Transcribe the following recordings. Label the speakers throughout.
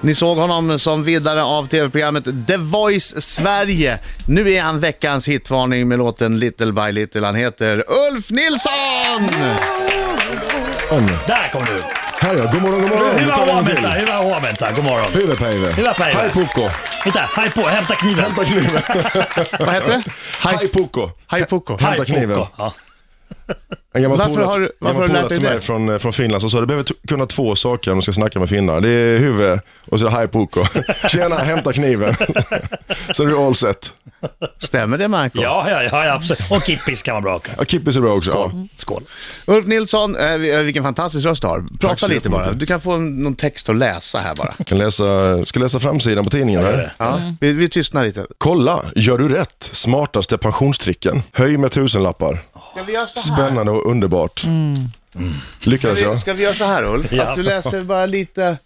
Speaker 1: Ni såg honom som vinnare av tv-programmet The Voice Sverige. Nu är han veckans hitvarning med låten Little by Little. Han heter Ulf Nilsson!
Speaker 2: Där kom du!
Speaker 3: Här ja, god morgon, god morgon. Vi
Speaker 2: Hyvää
Speaker 3: tar en till.
Speaker 2: huomenta, hyvää huomenta, god morgon.
Speaker 3: Hyvä päivä.
Speaker 2: Hyvä päivä.
Speaker 3: Hej Pucko.
Speaker 2: Mitä? Hai på, hämta kniven.
Speaker 3: Hämta kniven.
Speaker 1: Vad heter det?
Speaker 3: Hej Pucko.
Speaker 1: Hej Pucko.
Speaker 2: Hai
Speaker 3: hämta kniven.
Speaker 2: puukko. Ja.
Speaker 3: En gammal
Speaker 1: Varför
Speaker 3: polare-
Speaker 1: har du- varför
Speaker 3: gammal
Speaker 1: har du lärt
Speaker 3: polare
Speaker 1: dig
Speaker 3: till mig
Speaker 1: det?
Speaker 3: Från, från Finland som sa du behöver t- kunna två saker om du ska snacka med finnar. Det är huvud och så är det hej Pucko. Tjena, hämta kniven. så du är all set.
Speaker 1: Stämmer det Marco?
Speaker 2: Ja, ja, ja, ja, absolut. Och kippis kan man braka.
Speaker 3: Ja, Kippis är bra också. Ja.
Speaker 2: Skål.
Speaker 1: Ulf Nilsson, eh, vi- eh, vilken fantastisk röst du har.
Speaker 3: Tack
Speaker 1: Prata
Speaker 3: så
Speaker 1: lite bara.
Speaker 3: jättemycket.
Speaker 1: Du kan få en- någon text att läsa här bara.
Speaker 3: Kan läsa, ska läsa framsidan på tidningen här.
Speaker 1: Ja, vi, vi tystnar lite.
Speaker 3: Kolla, gör du rätt? Smartaste pensionstricken. Höj med tusenlappar.
Speaker 1: Ska vi göra så här?
Speaker 3: Spännande alltså. och underbart. Lyckades
Speaker 1: Ska
Speaker 3: jag?
Speaker 1: vi, ska vi göra så här Ulf?
Speaker 2: Ja.
Speaker 1: Att du läser bara lite,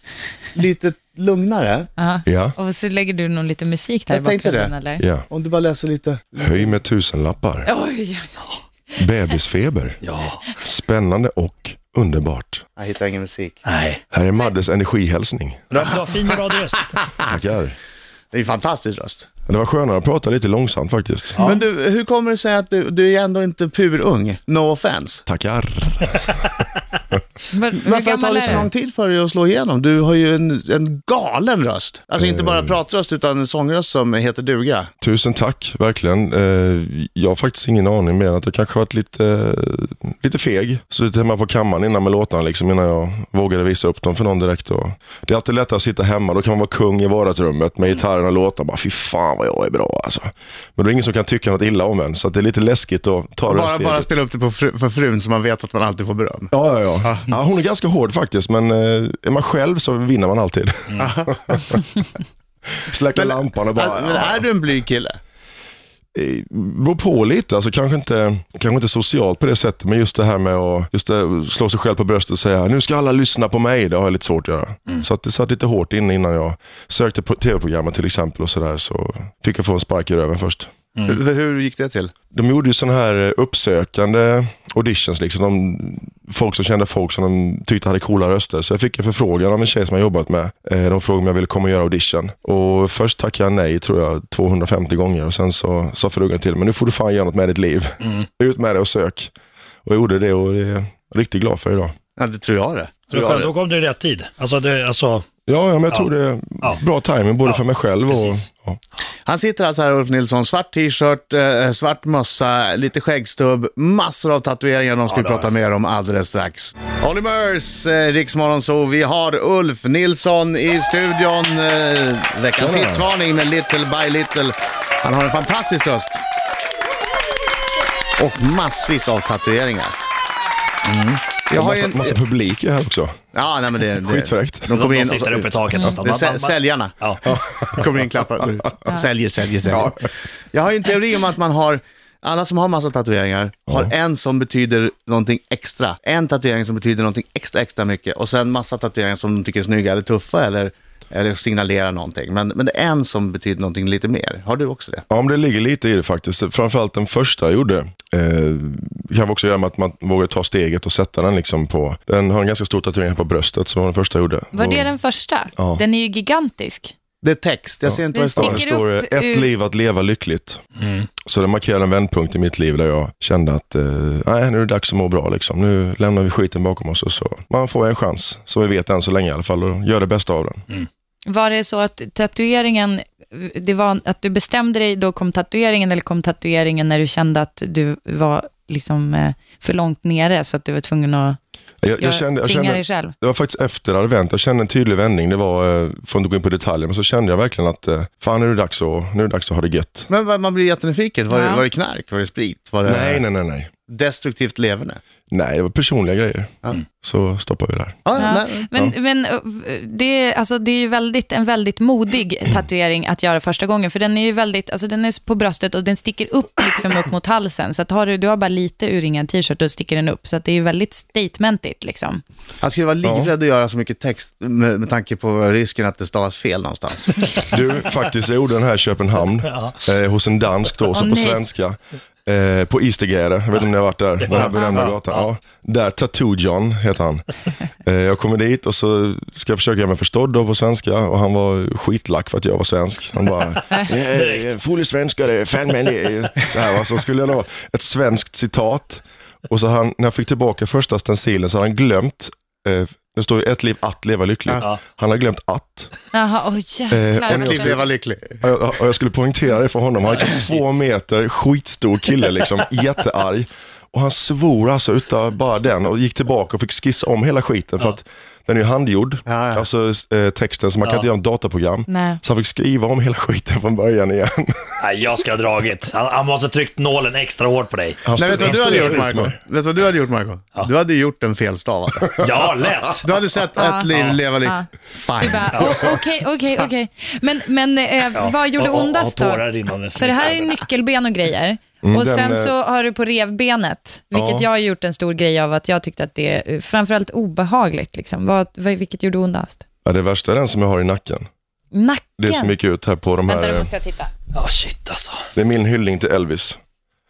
Speaker 1: lite lugnare.
Speaker 3: Ja.
Speaker 4: Och så lägger du någon lite musik där
Speaker 1: Jag
Speaker 4: i
Speaker 1: tänkte
Speaker 4: bakgrunden
Speaker 1: det.
Speaker 4: eller?
Speaker 3: ja.
Speaker 1: Om du bara läser lite.
Speaker 3: Höj med tusenlappar.
Speaker 4: Oj,
Speaker 3: Bebisfeber.
Speaker 2: Ja.
Speaker 3: Spännande och underbart.
Speaker 1: Jag hittar ingen musik.
Speaker 2: Nej.
Speaker 3: Här är Maddes energihälsning.
Speaker 2: Du har du har fin radioröst.
Speaker 3: Tackar.
Speaker 1: Det är en fantastisk röst.
Speaker 3: Det var skönare att prata lite långsamt faktiskt.
Speaker 1: Men du, hur kommer det sig att du, du är ändå inte purung? No offense.
Speaker 3: Tackar.
Speaker 4: Var, hur
Speaker 3: alltså,
Speaker 1: Varför har det
Speaker 4: gammal
Speaker 3: liksom
Speaker 1: tagit så
Speaker 4: är
Speaker 1: lång
Speaker 4: du?
Speaker 1: tid för dig att slå igenom? Du har ju en, en galen röst. Alltså inte bara pratröst utan en sångröst som heter duga.
Speaker 3: Tusen tack, verkligen. Eh, Jag har faktiskt ingen aning mer än att jag kanske varit lite, eh, lite feg. Suttit hemma på kammaren innan med låtarna, liksom, innan jag vågade visa upp dem för någon direkt. Och det är alltid lättare att sitta hemma, då kan man vara kung i vardagsrummet
Speaker 1: Mm.
Speaker 3: med gitarren och låtarna. Bara, Fy fan vad jag är bra alltså. Men det är ingen som kan tycka något illa om en, så att det är lite läskigt att ta det här
Speaker 1: Bara,
Speaker 3: steget.
Speaker 1: bara spela upp det på fru, för frun så man vet att man alltid får beröm.
Speaker 3: Ja, ja, ja. ja, hon är ganska hård faktiskt, men eh, är man själv så vinner man alltid. Släcka lampan och bara...
Speaker 1: Mm. Men Äh, är du en blyg kille?
Speaker 3: eh, beror på lite. Alltså, kanske, inte, kanske inte socialt på det sättet, men just det här med att just det, slå sig själv på bröstet och säga nu ska alla lyssna på mig. Det har jag lite svårt att göra. Så att det satt lite hårt inne innan jag sökte på tv-programmet till exempel och sådär så fick jag få en spark i röven först.
Speaker 1: Hur, hur gick det till?
Speaker 3: De gjorde ju sådana här eh, uppsökande auditions. Liksom. De, folk som kände folk som de tyckte hade coola röster. Så jag fick en förfrågan av en tjej som jag jobbat med. Eh, De frågade om jag ville komma och göra audition. Och först tackade jag nej, tror jag, 250 gånger. Och sen så sa frugan till mig, nu får du fan göra något med ditt liv.
Speaker 2: Mm.
Speaker 3: Ut med det och sök. Och jag gjorde det och det är jag riktigt glad för idag.
Speaker 1: Ja, det tror jag det.
Speaker 2: Så då
Speaker 1: Tror jag
Speaker 2: kom-
Speaker 1: det.
Speaker 2: Då kom du i rätt tid. Alltså, det, alltså
Speaker 3: Ja, ja men jag tror det är
Speaker 2: Ja.
Speaker 3: bra timing både för mig själv och...
Speaker 2: precis.
Speaker 3: Ja.
Speaker 1: Han sitter alltså här, Ulf Nilsson, svart t-shirt, eh, svart mössa, lite skäggstubb, massor av tatueringar de ska vi
Speaker 2: det har
Speaker 1: prata mer om alldeles strax. Olivers, eh, Riksmorgon, så vi har Ulf Nilsson i studion. Eh, veckans
Speaker 3: Tjena.
Speaker 1: hitvarning med Little by Little. Han har en fantastisk röst. Och massvis av tatueringar. Jag har ju
Speaker 3: Massa,
Speaker 1: en...
Speaker 3: massa publik är här också.
Speaker 1: Ja, nej men det... det-
Speaker 3: Skitfräckt.
Speaker 1: De kommer in
Speaker 2: de
Speaker 1: och så
Speaker 2: sitter uppe i
Speaker 1: ut.
Speaker 2: taket
Speaker 1: Det
Speaker 2: någonstans.
Speaker 1: är sä- säljarna.
Speaker 2: Ja.
Speaker 1: Kommer in, klappar och går ut. Säljer, säljer, säljer. Jag har ju en teori om att man har, alla som har massa tatueringar, har en som betyder någonting extra. En tatuering som betyder någonting extra, extra mycket. Och sen massa tatueringar som de tycker är snygga eller tuffa eller, eller signalerar någonting. Men, men det är en som betyder någonting lite mer. Har du också det?
Speaker 3: Ja, men det ligger lite i det faktiskt. Framförallt den första jag gjorde. Eh, kan också göra med att man vågar ta steget och sätta den liksom på... Den har en ganska stor tatuering här på bröstet, som var den första jag gjorde.
Speaker 4: Var det
Speaker 3: Och
Speaker 4: den första?
Speaker 3: Ja.
Speaker 4: Den är ju gigantisk.
Speaker 1: Det är text, jag ser inte vad det
Speaker 4: Det
Speaker 1: står.
Speaker 3: Där
Speaker 4: sticker
Speaker 3: står det,
Speaker 4: upp
Speaker 3: ett
Speaker 4: ur-
Speaker 3: liv att leva lyckligt. Så det markerar en vändpunkt i mitt liv där jag kände att eh, nej, nu är det dags att må bra. Liksom. Nu lämnar vi skiten bakom oss och så. Man får en chans, så vi vet än så länge i alla fall, och gör det bästa av den.
Speaker 4: Var det så att tatueringen, det var att du bestämde dig, då kom tatueringen, eller kom tatueringen när du kände att du var liksom eh, för långt nere, så att du var tvungen att
Speaker 3: Jag,
Speaker 4: göra-
Speaker 3: jag kände, jag
Speaker 4: tvinga
Speaker 3: kände,
Speaker 4: dig själv?
Speaker 3: Det var faktiskt efter advent. Jag kände en tydlig vändning. Det var, eh, får inte gå in på detaljer, men så kände jag verkligen att eh, fan nu är det dags att, nu är det dags att ha det gött.
Speaker 1: Men vad- man blir jättenyfiken. Var, det,
Speaker 4: Ja.
Speaker 1: var det knark? Var det sprit? Var det
Speaker 3: Nej, nej, nej, nej.
Speaker 1: destruktivt leverne?
Speaker 3: Nej, det var personliga grejer. Så stoppar vi där.
Speaker 1: Ja,
Speaker 4: Ja.
Speaker 1: nej.
Speaker 4: Men, men eh, det, är- alltså, det är ju väldigt, en väldigt modig tatuering att göra första gången, för den är ju väldigt, alltså, den är på bröstet och den sticker upp, liksom, upp mot halsen. Så att har du, du har bara lite urringad t-shirt och sticker den upp, så att det är ju väldigt statementigt. Liksom.
Speaker 1: Han skulle vara livrädd att göra så mycket text med, med tanke på risken att det stavas fel någonstans.
Speaker 3: Du, faktiskt, jag gjorde den här i Köpenhamn eh, hos en dansk då, så
Speaker 4: Åh,
Speaker 3: på
Speaker 4: nej.
Speaker 3: svenska. Eh, på Istegärde, jag vet inte om ni har varit där, den här berömda gatan. Ja. Där, Tattoo John heter han. Eh, jag kommer dit och så ska jag försöka göra mig förstådd då på svenska och han var skitlack för att jag var svensk. Han bara, yeah, full svenskare, fan men det är-" så här, va. Så skulle jag då, ett svenskt citat. Och så han, när jag fick tillbaka första stencilen så hade han glömt, eh, det står ju ett liv att leva lyckligt. Han har glömt att.
Speaker 4: Jaha, oj jäklar.
Speaker 1: Ett liv leva lycklig.
Speaker 3: Ja, Jag, och jag skulle poängtera det för honom. Han är kanske två meter, skitstor kille, liksom, jättearg. Och han svor alltså utav bara den och gick tillbaka och fick skissa om hela skiten. För att den är ju handgjord,
Speaker 1: Ja, ja.
Speaker 3: alltså eh, texten, så man kan inte göra en dataprogram.
Speaker 4: Nej.
Speaker 3: Så han fick skriva om hela skiten från början igen.
Speaker 2: Nej, jag ska ha dragit. Han, han måste ha tryckt nålen extra hårt på dig.
Speaker 3: Han
Speaker 1: Nej, vet du vad du
Speaker 3: stressade
Speaker 1: hade
Speaker 3: ut
Speaker 1: gjort
Speaker 3: mig.
Speaker 1: Marco? Vet du vad du hade gjort Marco? Du hade gjort en felstavad.
Speaker 2: Ja, lätt.
Speaker 1: Du hade sett
Speaker 4: Ja.
Speaker 1: ett liv leva
Speaker 4: Ja.
Speaker 1: lyckligt.
Speaker 4: Du
Speaker 1: Fine.
Speaker 4: bara, o- Okej, okej, okej. Men, men eh, vad gjorde
Speaker 2: Och- och- och
Speaker 4: ondast då?
Speaker 2: tårar rinnandes
Speaker 4: För det här är ju
Speaker 2: liksom.
Speaker 4: nyckelben och grejer. och
Speaker 3: den,
Speaker 4: sen
Speaker 3: eh,
Speaker 4: så har du på revbenet, vilket
Speaker 3: Ja.
Speaker 4: jag har gjort en stor grej av att jag tyckte att det är eh, framförallt obehagligt. Liksom. Vad, vad, vilket gjorde ondast?
Speaker 3: Ja, det värsta är den som jag har i nacken.
Speaker 4: Nacken.
Speaker 3: Det som gick ut här på de
Speaker 4: Vänta,
Speaker 3: här,
Speaker 4: nu
Speaker 3: eh,
Speaker 4: måste jag titta.
Speaker 2: Ja, shit alltså.
Speaker 3: det är min hyllning till Elvis.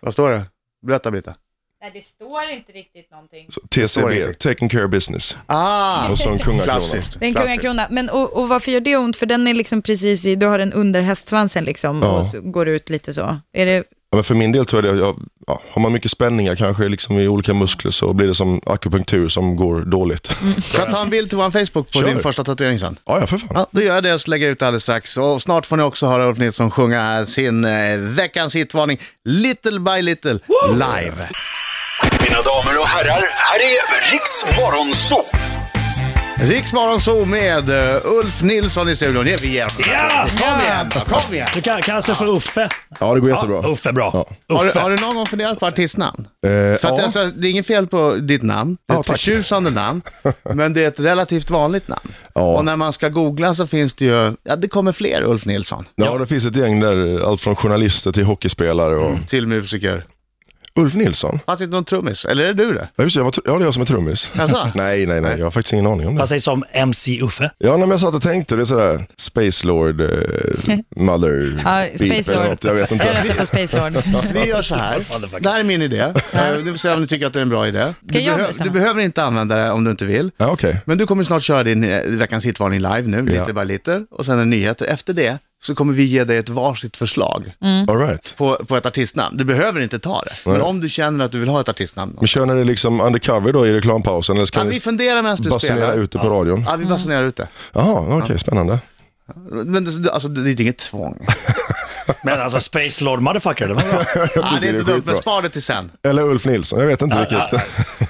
Speaker 1: Vad står det? Berätta Brita.
Speaker 4: Nej, det står inte riktigt någonting.
Speaker 3: Så,
Speaker 1: står
Speaker 3: TCB,
Speaker 1: ingenting.
Speaker 3: Taking Care of Business.
Speaker 1: Ah,
Speaker 3: Och så en kungakrona.
Speaker 1: klassiskt.
Speaker 4: Det är en
Speaker 1: klassiskt.
Speaker 4: kungakrona. Men, och, och varför gör det ont? För den är liksom precis i, du har den under hästsvansen liksom
Speaker 3: Ja.
Speaker 4: och så går ut lite så. Är det,
Speaker 3: Ja, men för min del tror jag, det, jag ja, har man mycket spänningar kanske liksom i olika muskler så blir det som akupunktur som går dåligt.
Speaker 1: Får jag ta en bild till vår Facebook på
Speaker 3: Kör.
Speaker 1: din första tatuering sen?
Speaker 3: ja, ja, för fan.
Speaker 1: Ja, då gör jag det och så lägger jag ut det alldeles strax. Och snart får ni också höra Ulf Nilsson sjunga sin eh, veckans hitvarning Little by Little live.
Speaker 5: Mina damer och herrar, här är Riks Morgonzoo!
Speaker 1: Riksmorgon så med eh, Ulf Nilsson i studion. Det är vi igen.
Speaker 2: Ja!
Speaker 1: Kom igen, då, kom igen.
Speaker 2: Du kan, kallas du för Uffe?
Speaker 3: Ja, det går
Speaker 2: Ja,
Speaker 3: jättebra.
Speaker 2: Uffe är bra.
Speaker 1: Har,
Speaker 2: Uffe.
Speaker 1: du- har du någon gång funderat på artistnamn?
Speaker 3: Eh,
Speaker 1: För att
Speaker 3: ja.
Speaker 1: alltså, det är inget fel på ditt namn, det är
Speaker 3: Ja,
Speaker 1: ett
Speaker 3: tack.
Speaker 1: förtjusande namn, men det är ett relativt vanligt namn.
Speaker 3: Ja.
Speaker 1: Och när man ska googla så finns det ju, ja det kommer fler Ulf Nilsson,
Speaker 3: ja, det finns ett gäng där, allt från journalister till hockeyspelare och
Speaker 1: till musiker.
Speaker 3: Ulf Nilsson.
Speaker 1: Fanns inte någon trummis, eller är det du det?
Speaker 3: Ja, just det, jag var, tr- ja, det är jag som är trummis.
Speaker 1: Jaså?
Speaker 3: nej, nej, nej, jag har faktiskt ingen aning om det.
Speaker 2: Han sägs som MC Uffe.
Speaker 3: Ja, nej, men jag satt och tänkte, det är sådär, Space Lord, eh, Mother,
Speaker 4: ja,
Speaker 3: Beep
Speaker 4: Space
Speaker 3: eller
Speaker 4: Lord.
Speaker 3: något, jag vet
Speaker 4: Jag
Speaker 3: inte.
Speaker 4: röstar på Space Lord.
Speaker 1: Vi gör så här, det här är min idé, Eh, det vill säga om ni tycker att det är en bra idé. Du,
Speaker 4: jag
Speaker 1: behö-
Speaker 4: bestämma?
Speaker 1: du behöver inte använda det om du inte vill.
Speaker 3: Ja, okej.
Speaker 1: Men du kommer snart köra din eh, veckans hitvarning live nu,
Speaker 3: Ja.
Speaker 1: lite by lite, och sen en nyheter. Efter det så kommer vi ge dig ett varsitt förslag
Speaker 3: All right.
Speaker 1: på, på ett artistnamn. Du behöver inte ta det, men om du känner att du vill ha ett artistnamn.
Speaker 3: Men kör ni det liksom undercover då i reklampausen eller ska
Speaker 1: Ja, vi
Speaker 3: ni
Speaker 1: funderar medan du
Speaker 3: basunera
Speaker 1: spelar.
Speaker 3: ut det på radion?
Speaker 1: Ja, vi basunerar ut det.
Speaker 3: Jaha, okej, spännande.
Speaker 1: Men det- alltså, det är inget tvång.
Speaker 2: Men alltså Space Lord Motherfucker, det var bra.
Speaker 1: Ja, det är
Speaker 3: det
Speaker 1: inte
Speaker 3: är
Speaker 1: dumt,
Speaker 3: skitbra.
Speaker 1: men spar det till sen.
Speaker 3: Eller Ulf Nilsson, jag vet inte riktigt.
Speaker 1: Eh,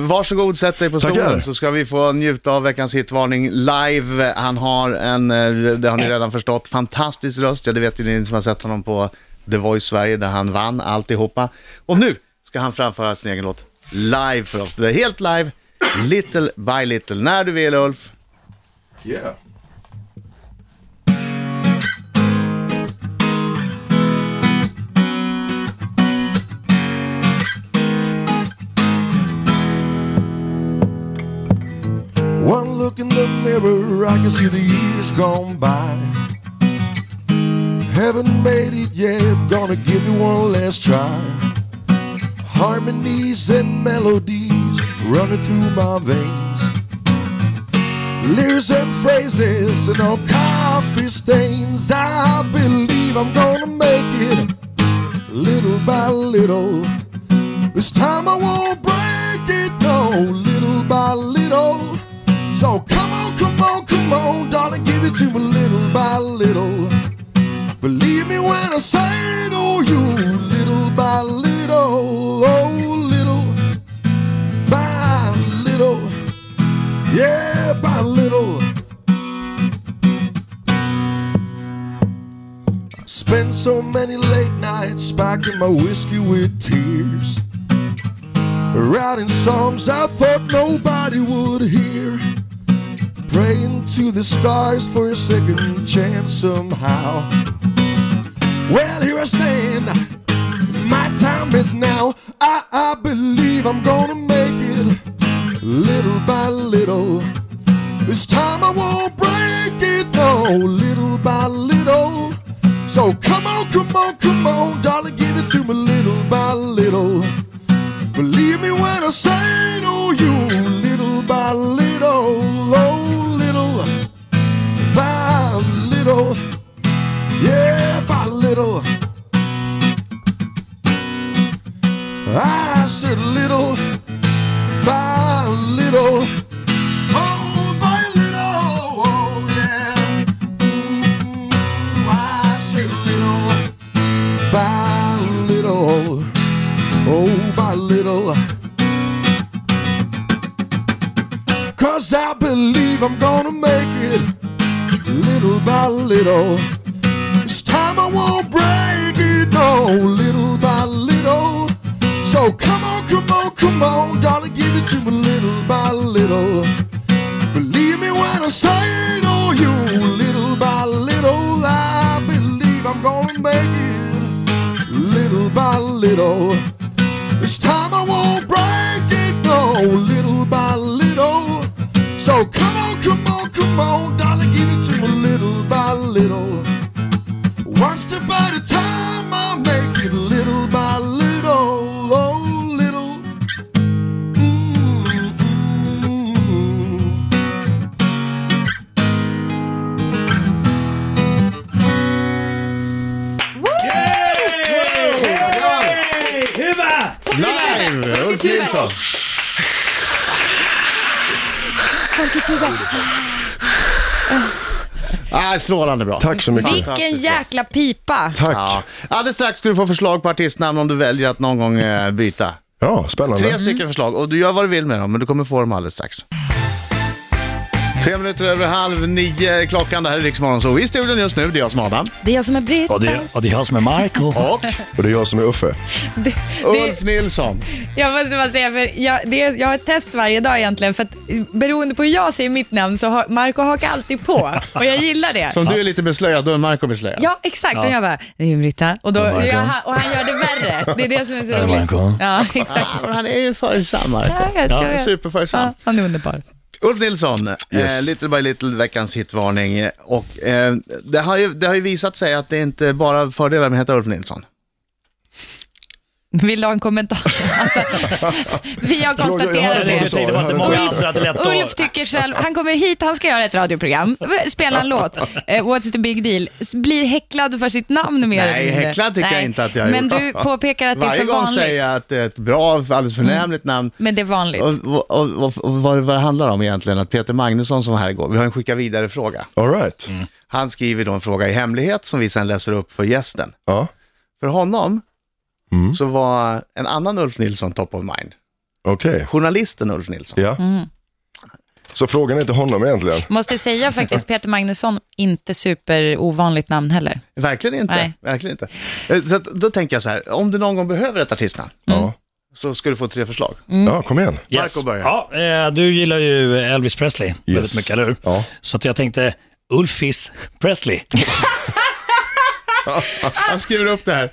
Speaker 1: Varsågod, sätt dig på
Speaker 3: Tackar.
Speaker 1: stolen så ska vi få njuta av veckans hitvarning live. Han har en, eh, det har ni redan förstått, fantastisk röst. Ja, det vet ju ni som har sett honom på The Voice Sverige där han vann alltihopa. Och nu ska han framföra sin egen låt live för oss. Det är helt live, little by little. När du vill Ulf.
Speaker 3: Yeah.
Speaker 6: One look in the mirror, I can see the years gone by. Haven't made it yet, gonna give it one last try. Harmonies and melodies running through my veins. Lyrics and phrases and all coffee stains. I believe I'm gonna make it little by little. This time I won't break it, no, little by little. So come on, come on, come on, darling, give it to me little by little. Believe me when I say it, oh, you little by little, oh, little by little, yeah, by little. Spent so many late nights sparking my whiskey with tears. Writing songs I thought nobody would hear. Praying to the stars for a second chance somehow. Well, here I stand. My time is now. I, I believe I'm gonna make it little by little. This time I won't break it, no, little by little. So
Speaker 3: So come on, come on, come on, darling, give it to me little by little. Believe me when I say it, oh, you little by little, oh, little by little, yeah, by little. I said little by little. Oh, by little, oh, yeah. Mm, I said little by little. Oh, by little. Cause I believe I'm gonna make it little by little. This time I won't break it, no, little by little. So come on, come on, come on, darling, give it to me little by little. Believe me when I say it, oh, you little by little. I believe I'm gonna make it little by little. This time I won't break it, no, little by little. So come on, come on, come on, darling, give it to me little by little. One step at a time, I make it little by little, oh, little. Mm, mm, mm.
Speaker 2: Huva!
Speaker 1: Live! Ulf Nilsson.
Speaker 4: Folkets huvud.
Speaker 1: Ah, strålande bra.
Speaker 7: Tack så mycket.
Speaker 4: Vilken
Speaker 1: Fantastiskt bra.
Speaker 4: jäkla pipa.
Speaker 7: Tack.
Speaker 1: Ja.
Speaker 7: Ja,
Speaker 1: Alldeles strax ska du få förslag på artistnamn om du väljer att någon gång eh, byta.
Speaker 4: Mm.
Speaker 7: spännande.
Speaker 1: Tre stycken förslag och du gör vad du vill med dem, men du kommer få dem alldeles strax. Tre minuter över halv nio är klockan, det här är Riksmorgon, så i studion just nu, det är jag som är Adam.
Speaker 4: Det är jag som är Britta.
Speaker 2: Och det, och det är jag som är Michael.
Speaker 1: Och
Speaker 7: Och det är jag som är Uffe.
Speaker 4: Det- det-
Speaker 1: Ulf Nilsson.
Speaker 4: Jag måste bara säga, för jag, det är, jag har ett test varje dag egentligen, för att eh, beroende på hur jag säger mitt namn så har Marco hakar alltid på och jag gillar det.
Speaker 1: Som du är lite beslöjad, då är Marco beslöjad.
Speaker 4: Ja, exakt. Och jag bara, det är Britta. Och, då,
Speaker 2: Marco.
Speaker 4: ja, han- och han gör det värre. Det är det som är så
Speaker 2: Ja,
Speaker 4: roligt.
Speaker 2: Marco.
Speaker 4: Ja, exakt.
Speaker 1: Ah, men Han är ju följsam, Marco.
Speaker 4: Ja, jag
Speaker 1: Han är
Speaker 4: vet.
Speaker 1: superföljsam.
Speaker 4: Ja, han är underbar.
Speaker 1: Ulf Nilsson, eh,
Speaker 7: Yes.
Speaker 1: Little by Little, veckans hitvarning. eh, Och, eh, det, har ju, det har ju visat sig att det inte bara är fördelar med att heta Ulf Nilsson.
Speaker 4: Vill du ha en kommentar? Alltså, vi har konstaterat
Speaker 7: hörde vad
Speaker 4: det.
Speaker 7: du
Speaker 2: Jag
Speaker 7: sa.
Speaker 2: tänkte bara att det är många andra att det är lätt
Speaker 4: Ulf
Speaker 2: att...
Speaker 4: tycker själv, han kommer hit, han ska göra ett radioprogram, spela en låt, eh, What's the big deal, S- blir häcklad för sitt namn mer
Speaker 1: Nej,
Speaker 4: eller mindre.
Speaker 1: häcklad tycker jag inte att jag har
Speaker 4: Men
Speaker 1: gjort.
Speaker 4: du påpekar att det är
Speaker 1: Varje
Speaker 4: för
Speaker 1: gång
Speaker 4: vanligt.
Speaker 1: säger jag att det är ett bra, alldeles förnämligt namn.
Speaker 4: Men det är vanligt.
Speaker 1: Och, och, och, och, och vad, vad det handlar om egentligen, att Peter Magnusson som var här igår, vi har en skicka vidare-fråga.
Speaker 7: All right.
Speaker 1: Han skriver då en fråga i hemlighet som vi sen läser upp för gästen.
Speaker 7: Ja.
Speaker 1: För honom så var en annan Ulf Nilsson top of mind.
Speaker 7: Okej.
Speaker 1: Journalisten Ulf Nilsson.
Speaker 7: Ja.
Speaker 4: Mm.
Speaker 7: Så frågan är inte honom egentligen.
Speaker 4: Måste säga faktiskt, Peter Magnusson, inte superovanligt namn heller.
Speaker 1: Verkligen inte.
Speaker 4: Nej.
Speaker 1: Verkligen inte. Eh, Så att, då tänker jag så här, om du någon gång behöver ett artistnamn
Speaker 7: Ja.
Speaker 1: så ska du få tre förslag.
Speaker 4: Mm.
Speaker 7: ja, kom igen.
Speaker 2: Yes.
Speaker 1: Marco börjar.
Speaker 2: Ja, eh, du gillar ju Elvis Presley väldigt mycket, eller hur?
Speaker 7: Ja.
Speaker 2: Så att jag tänkte Ulfis Presley.
Speaker 1: Han skriver upp det här.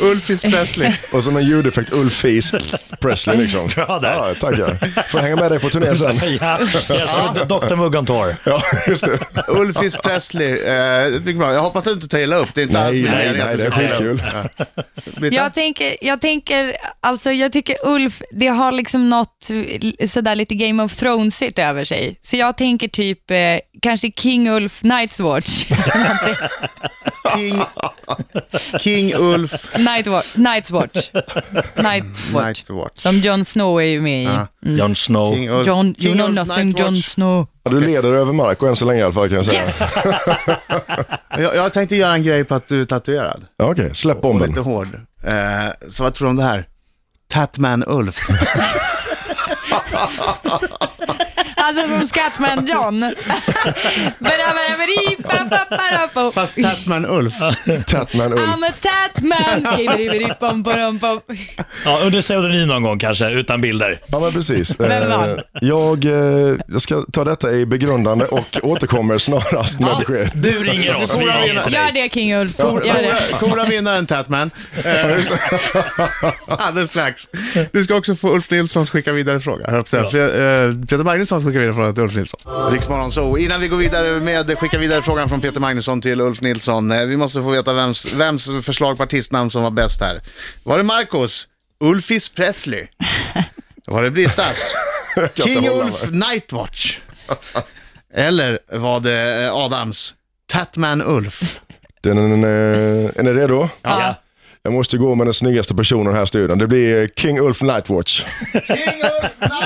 Speaker 1: Ulfis Presley.
Speaker 7: Och som en ljudeffekt, Ulfis Presley liksom.
Speaker 2: Bra där.
Speaker 7: Ja, tackar. Får jag hänga med dig på turné sen.
Speaker 2: ja, jag såg Dr Mugg on Tour.
Speaker 7: Ja, just det.
Speaker 1: Ulfis Presley. Eh, det blir bra. Jag hoppas att du inte tar illa upp. Det är inte alls
Speaker 7: Nej,
Speaker 1: min
Speaker 7: nej,
Speaker 1: mening att
Speaker 7: nej,
Speaker 1: du
Speaker 7: det är
Speaker 1: ska ta illa upp.
Speaker 7: skitkul.
Speaker 1: Britta?
Speaker 4: Jag tänker, jag tänker, alltså jag tycker Ulf, det har liksom något eh, sådär lite Game of Thrones-igt över sig. Så jag tänker typ, eh, kanske King Ulf Nightwatch.
Speaker 1: King, King Ulf
Speaker 4: Nightwatch. Nightwatch. Nightwatch.
Speaker 1: Nightwatch.
Speaker 4: Som Jon Snow är ju med i.
Speaker 2: Jon Snow.
Speaker 1: King Ulf.
Speaker 4: Jon, you
Speaker 1: King
Speaker 4: know
Speaker 1: Ulf
Speaker 4: nothing
Speaker 1: Nightwatch.
Speaker 4: Jon Snow.
Speaker 7: Ja, Du leder över Marco än så länge i alla fall kan jag säga.
Speaker 4: Yes!
Speaker 1: Jag, jag tänkte göra en grej på att du är tatuerad.
Speaker 7: Ja, Okej, släpp
Speaker 1: Och lite
Speaker 7: bomben.
Speaker 1: hård. Eh, så vad tror du om det här? Tatman Ulf.
Speaker 4: Alltså som Scatman John. Barabarabari, papaparapo.
Speaker 1: Fast Tatman Ulf.
Speaker 7: Tatman Ulf.
Speaker 4: I'm a tatman. Skibberiberi, pom, pom, pom.
Speaker 2: Ja, under pseudonym någon gång kanske, utan bilder.
Speaker 7: Ja, men precis.
Speaker 4: Vem vann?
Speaker 7: Eh, Jag, eh, jag ska ta detta i begrundande och återkommer snarast med besked.
Speaker 2: Du ringer oss, vi
Speaker 1: får
Speaker 2: ringer
Speaker 1: gärna-
Speaker 2: på
Speaker 4: Gör
Speaker 2: dig.
Speaker 4: det King Ulf. Gör det.
Speaker 1: Kora- Kora vinnaren Tatman. Eh, alldeles strax. Du ska också få Ulf Nilssons skicka vidare fråga. höll jag på att säga. För, eh, Peter Magnusson skickar vi vidare frågan till Ulf Nilsson. Riksmorgon så innan vi går vidare med, skicka vidare frågan från Peter Magnusson till Ulf Nilsson. Eh, Vi måste få veta vems, vems förslag på artistnamn som var bäst här. Var det Marcos? Ulfis Presley? Var det Brittas?
Speaker 7: kan inte
Speaker 1: King
Speaker 7: hålla
Speaker 1: Ulf Nightwatch? Eller var det eh, Adams? Tatman Ulf?
Speaker 7: Den, eh, är ni redo?
Speaker 2: Ja.
Speaker 7: Jag måste gå med den snyggaste personen här i studion. Det blir eh, King Ulf Nightwatch.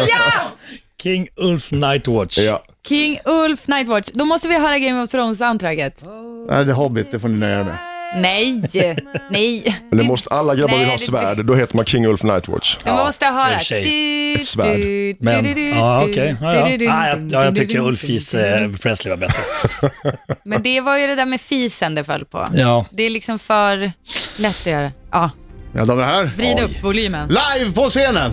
Speaker 4: Ja!
Speaker 2: King Ulf Nightwatch.
Speaker 7: Ja.
Speaker 4: King Ulf Nightwatch. Då måste vi höra Game of Thrones-soundtracket.
Speaker 1: Nej, det är Hobbit, det får ni nöja er med.
Speaker 4: Nej, nej.
Speaker 7: Eller måste alla grabbar
Speaker 4: Nej,
Speaker 7: vill ha
Speaker 4: det-
Speaker 7: svärd, då heter man King Ulf Nightwatch.
Speaker 4: Du måste
Speaker 2: i
Speaker 4: höra.
Speaker 2: och för sig.
Speaker 4: Du,
Speaker 7: Ett svärd.
Speaker 4: du, du,
Speaker 2: Men,
Speaker 4: du, du,
Speaker 2: ja
Speaker 4: du,
Speaker 2: okej.
Speaker 4: du,
Speaker 2: Ja,
Speaker 4: du,
Speaker 2: ja.
Speaker 4: du,
Speaker 2: Ja,
Speaker 4: du,
Speaker 2: jag, ja, jag
Speaker 4: du,
Speaker 2: tycker
Speaker 4: du,
Speaker 2: Ulf
Speaker 4: du,
Speaker 2: Fis
Speaker 4: du, du,
Speaker 2: eh,
Speaker 4: du.
Speaker 2: Presley var bättre.
Speaker 4: Men det var ju det där med fisen det föll på.
Speaker 2: Ja.
Speaker 4: Det är liksom för lätt att göra. Ja,
Speaker 1: Ja, de är här.
Speaker 4: vrid upp volymen.
Speaker 1: Live på scenen!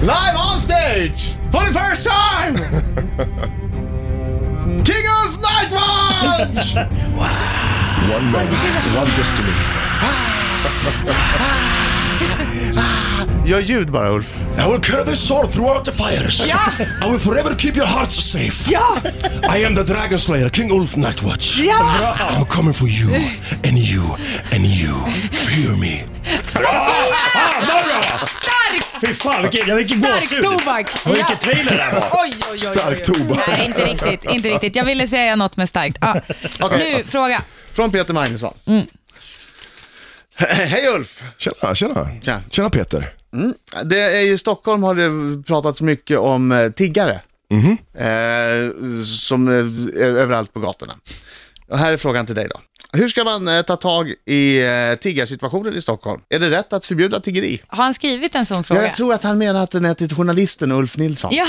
Speaker 1: Live on stage! For the first time! King of Nightwatch!
Speaker 7: One man, one destiny.
Speaker 1: Gör ljud bara Ulf.
Speaker 8: I will carry this sword throughout the fires.
Speaker 4: Ja.
Speaker 8: I will forever keep your hearts safe.
Speaker 4: Ja!
Speaker 8: I am the Dragon Slayer, King Ulf Nightwatch.
Speaker 4: Ja!
Speaker 8: I'm coming for you, and you, and you. Fear me.
Speaker 2: Fan vad bra!
Speaker 4: Stark!
Speaker 2: Fy fan vilken, ja, vilken
Speaker 4: Stark
Speaker 2: gåshud.
Speaker 4: tobak!
Speaker 2: Och vilken trailer det här var.
Speaker 4: Oj, oj, oj, oj, oj.
Speaker 7: Stark tobak.
Speaker 4: Nej, inte riktigt. Inte riktigt. Jag ville säga något med starkt. Ja.
Speaker 1: Okej.
Speaker 4: Nu, fråga.
Speaker 1: Från Peter Magnusson. Hej Ulf!
Speaker 7: Tjena, tjena.
Speaker 1: Tja.
Speaker 7: Tjena Peter.
Speaker 1: Det är, I Stockholm har det pratats mycket om eh, tiggare. Eh, som eh, är överallt på gatorna. Och här är frågan till dig då. Hur ska man eh, ta tag i eh, tiggarsituationen i Stockholm? Är det rätt att förbjuda tiggeri?
Speaker 4: Har han skrivit en sån
Speaker 1: Ja,
Speaker 4: fråga?
Speaker 1: jag tror att han menar att den är till journalisten Ulf Nilsson.
Speaker 4: Ja.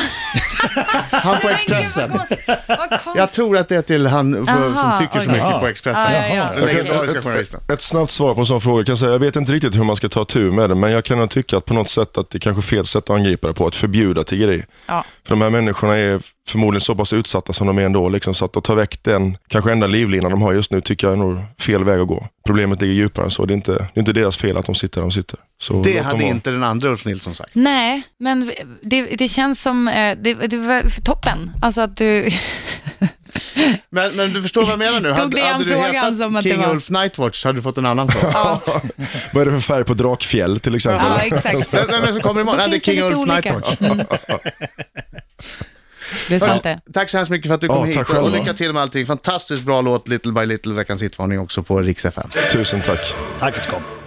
Speaker 1: Han på
Speaker 4: Men gud,
Speaker 1: Expressen.
Speaker 4: Vad konstigt. Vad konstigt.
Speaker 1: Jag tror att det är till han för, som
Speaker 4: Aha,
Speaker 1: tycker så
Speaker 4: oj.
Speaker 1: mycket på Expressen.
Speaker 4: Ja, ja, ja.
Speaker 1: Den legendariska journalisten.
Speaker 7: Ett snabbt svar på en sån fråga. Jag, kan säga, jag vet inte riktigt hur man ska ta tur med det, men jag kan nog tycka att på något sätt att det kanske är fel sätt att angripa det på, att förbjuda tiggeri.
Speaker 4: Ja.
Speaker 7: För de här människorna är förmodligen så pass utsatta som de är ändå, liksom, så att att ta väck den kanske enda livlinan de har just nu tycker jag är nog fel väg att gå. Problemet ligger djupare än så. Det är inte, det är inte deras fel att de sitter där de sitter. Så låt
Speaker 1: Det
Speaker 7: dem
Speaker 1: hade
Speaker 7: vara.
Speaker 1: inte den andra Ulf Nilsson sagt.
Speaker 4: Nej, men v- det, det känns som, eh, det, det var för toppen. Alltså att du,
Speaker 1: Men, men du förstår vad jag menar nu.
Speaker 4: Tog
Speaker 1: Hade,
Speaker 4: det an
Speaker 1: hade du
Speaker 4: frågan
Speaker 1: hetat
Speaker 4: som att det
Speaker 1: King
Speaker 4: var-
Speaker 1: Ulf Nightwatch hade du fått en annan fråga.
Speaker 7: Vad är det för färg på Drakfjäll till exempel?
Speaker 4: ja exakt.
Speaker 1: Vem vem är det som kommer imorgon?
Speaker 4: Då
Speaker 1: Nej, det är
Speaker 4: finns det
Speaker 1: King
Speaker 4: lite
Speaker 1: Ulf
Speaker 4: olika. Mm.
Speaker 1: Nightwatch.
Speaker 4: Det är sant det.
Speaker 1: Tack så hemskt mycket för att du kom
Speaker 7: Ja,
Speaker 1: hit
Speaker 7: tack själv,
Speaker 1: och
Speaker 7: va?
Speaker 1: lycka till med allting. Fantastiskt bra låt, Little by Little, veckans hitvarning också på Rix FM.
Speaker 7: Tusen tack.
Speaker 2: Tack för att du kom.